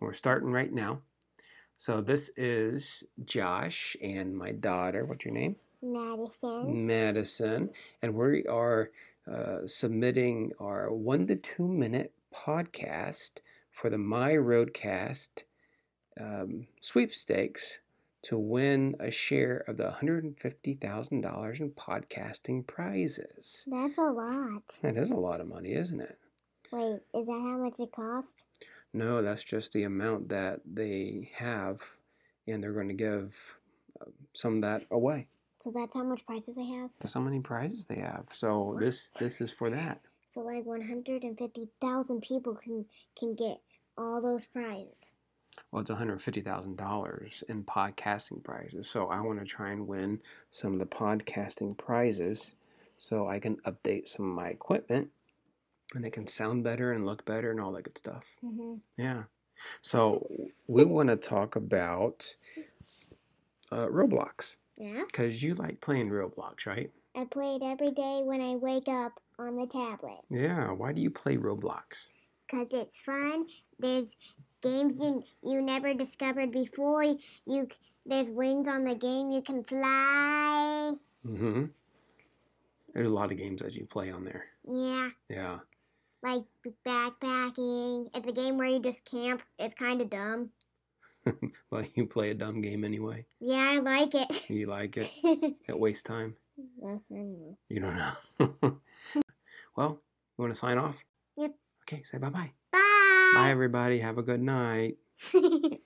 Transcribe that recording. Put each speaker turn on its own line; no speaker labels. We're starting right now. So this is Josh and my daughter. What's your name? Mm.
Madison.
Madison. And we are uh, submitting our one to two minute podcast for the My Roadcast um, sweepstakes to win a share of the $150,000 in podcasting prizes.
That's a lot.
That is a lot of money, isn't it?
Wait, is that how much it cost?
No, that's just the amount that they have, and they're going to give uh, some of that away.
So that's how much prizes they have?
That's how many prizes they have. So this this is for that.
So like 150,000 people can can get all those prizes.
Well, it's one hundred fifty thousand dollars in podcasting prizes. So I want to try and win some of the podcasting prizes, so I can update some of my equipment, and it can sound better and look better and all that good stuff.
Mm-hmm.
Yeah. So we want to talk about uh, Roblox
Yeah.
because you like playing Roblox, right?
I play it every day when I wake up on the tablet.
Yeah. Why do you play Roblox?
Because it's fun. There's games you, you never discovered before. You There's wings on the game. You can fly.
Mm-hmm. There's a lot of games that you play on there.
Yeah.
Yeah.
Like backpacking. It's a game where you just camp. It's kind of dumb.
Well, you play a dumb game anyway.
Yeah, I like it.
You like it.
Well,
It wastes time.
anyway.
You don't know. well, you want to sign off?
Yep.
Okay, say bye bye. Bye,
Bye.
everybody. Have a good night.
Bye.